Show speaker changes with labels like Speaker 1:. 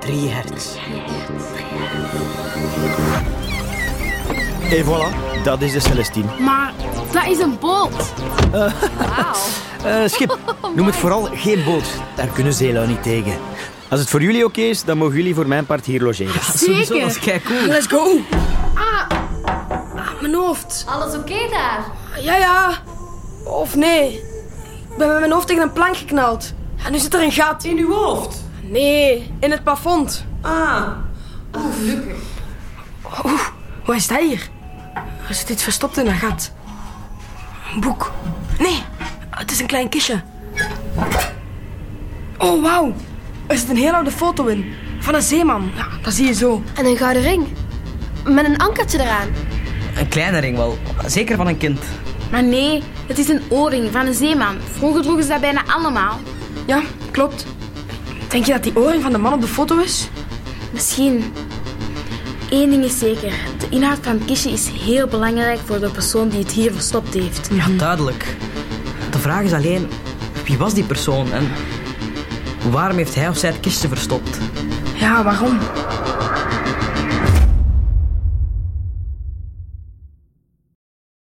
Speaker 1: 3 hertz.
Speaker 2: Et voilà, dat is de Celestine.
Speaker 3: Maar dat is een boot. Wauw.
Speaker 2: Eh, schip, noem het vooral geen boot. Daar kunnen zeelui niet tegen. Als het voor jullie oké is, dan mogen jullie voor mijn part hier logeren.
Speaker 1: Sowieso, dat is
Speaker 3: Zeker.
Speaker 1: keicool.
Speaker 4: Let's go. Ah, ah, mijn hoofd. Ah,
Speaker 5: Alles oké daar?
Speaker 4: Ja, ja. Of nee. Ik ben met mijn hoofd tegen een plank geknald. En nu zit er een gat.
Speaker 1: In uw hoofd.
Speaker 4: Nee, in het plafond.
Speaker 1: Ah,
Speaker 4: Wat is dat hier? Er zit iets verstopt in dat gat. Een boek. Nee, het is een klein kistje. Oh, wauw. Er zit een heel oude foto in. Van een zeeman. Ja, dat zie je zo.
Speaker 5: En een gouden ring. Met een ankertje eraan.
Speaker 1: een kleine ring wel. Zeker van een kind.
Speaker 3: Maar nee, het is een oorring van een zeeman. Vroeger droegen ze dat bijna allemaal.
Speaker 4: Ja, klopt. Denk je dat die oren van de man op de foto is?
Speaker 3: Misschien. Eén ding is zeker. De inhoud van het kistje is heel belangrijk voor de persoon die het hier verstopt heeft.
Speaker 1: Ja, duidelijk. De vraag is alleen, wie was die persoon en waarom heeft hij of zij het kistje verstopt?
Speaker 4: Ja, waarom?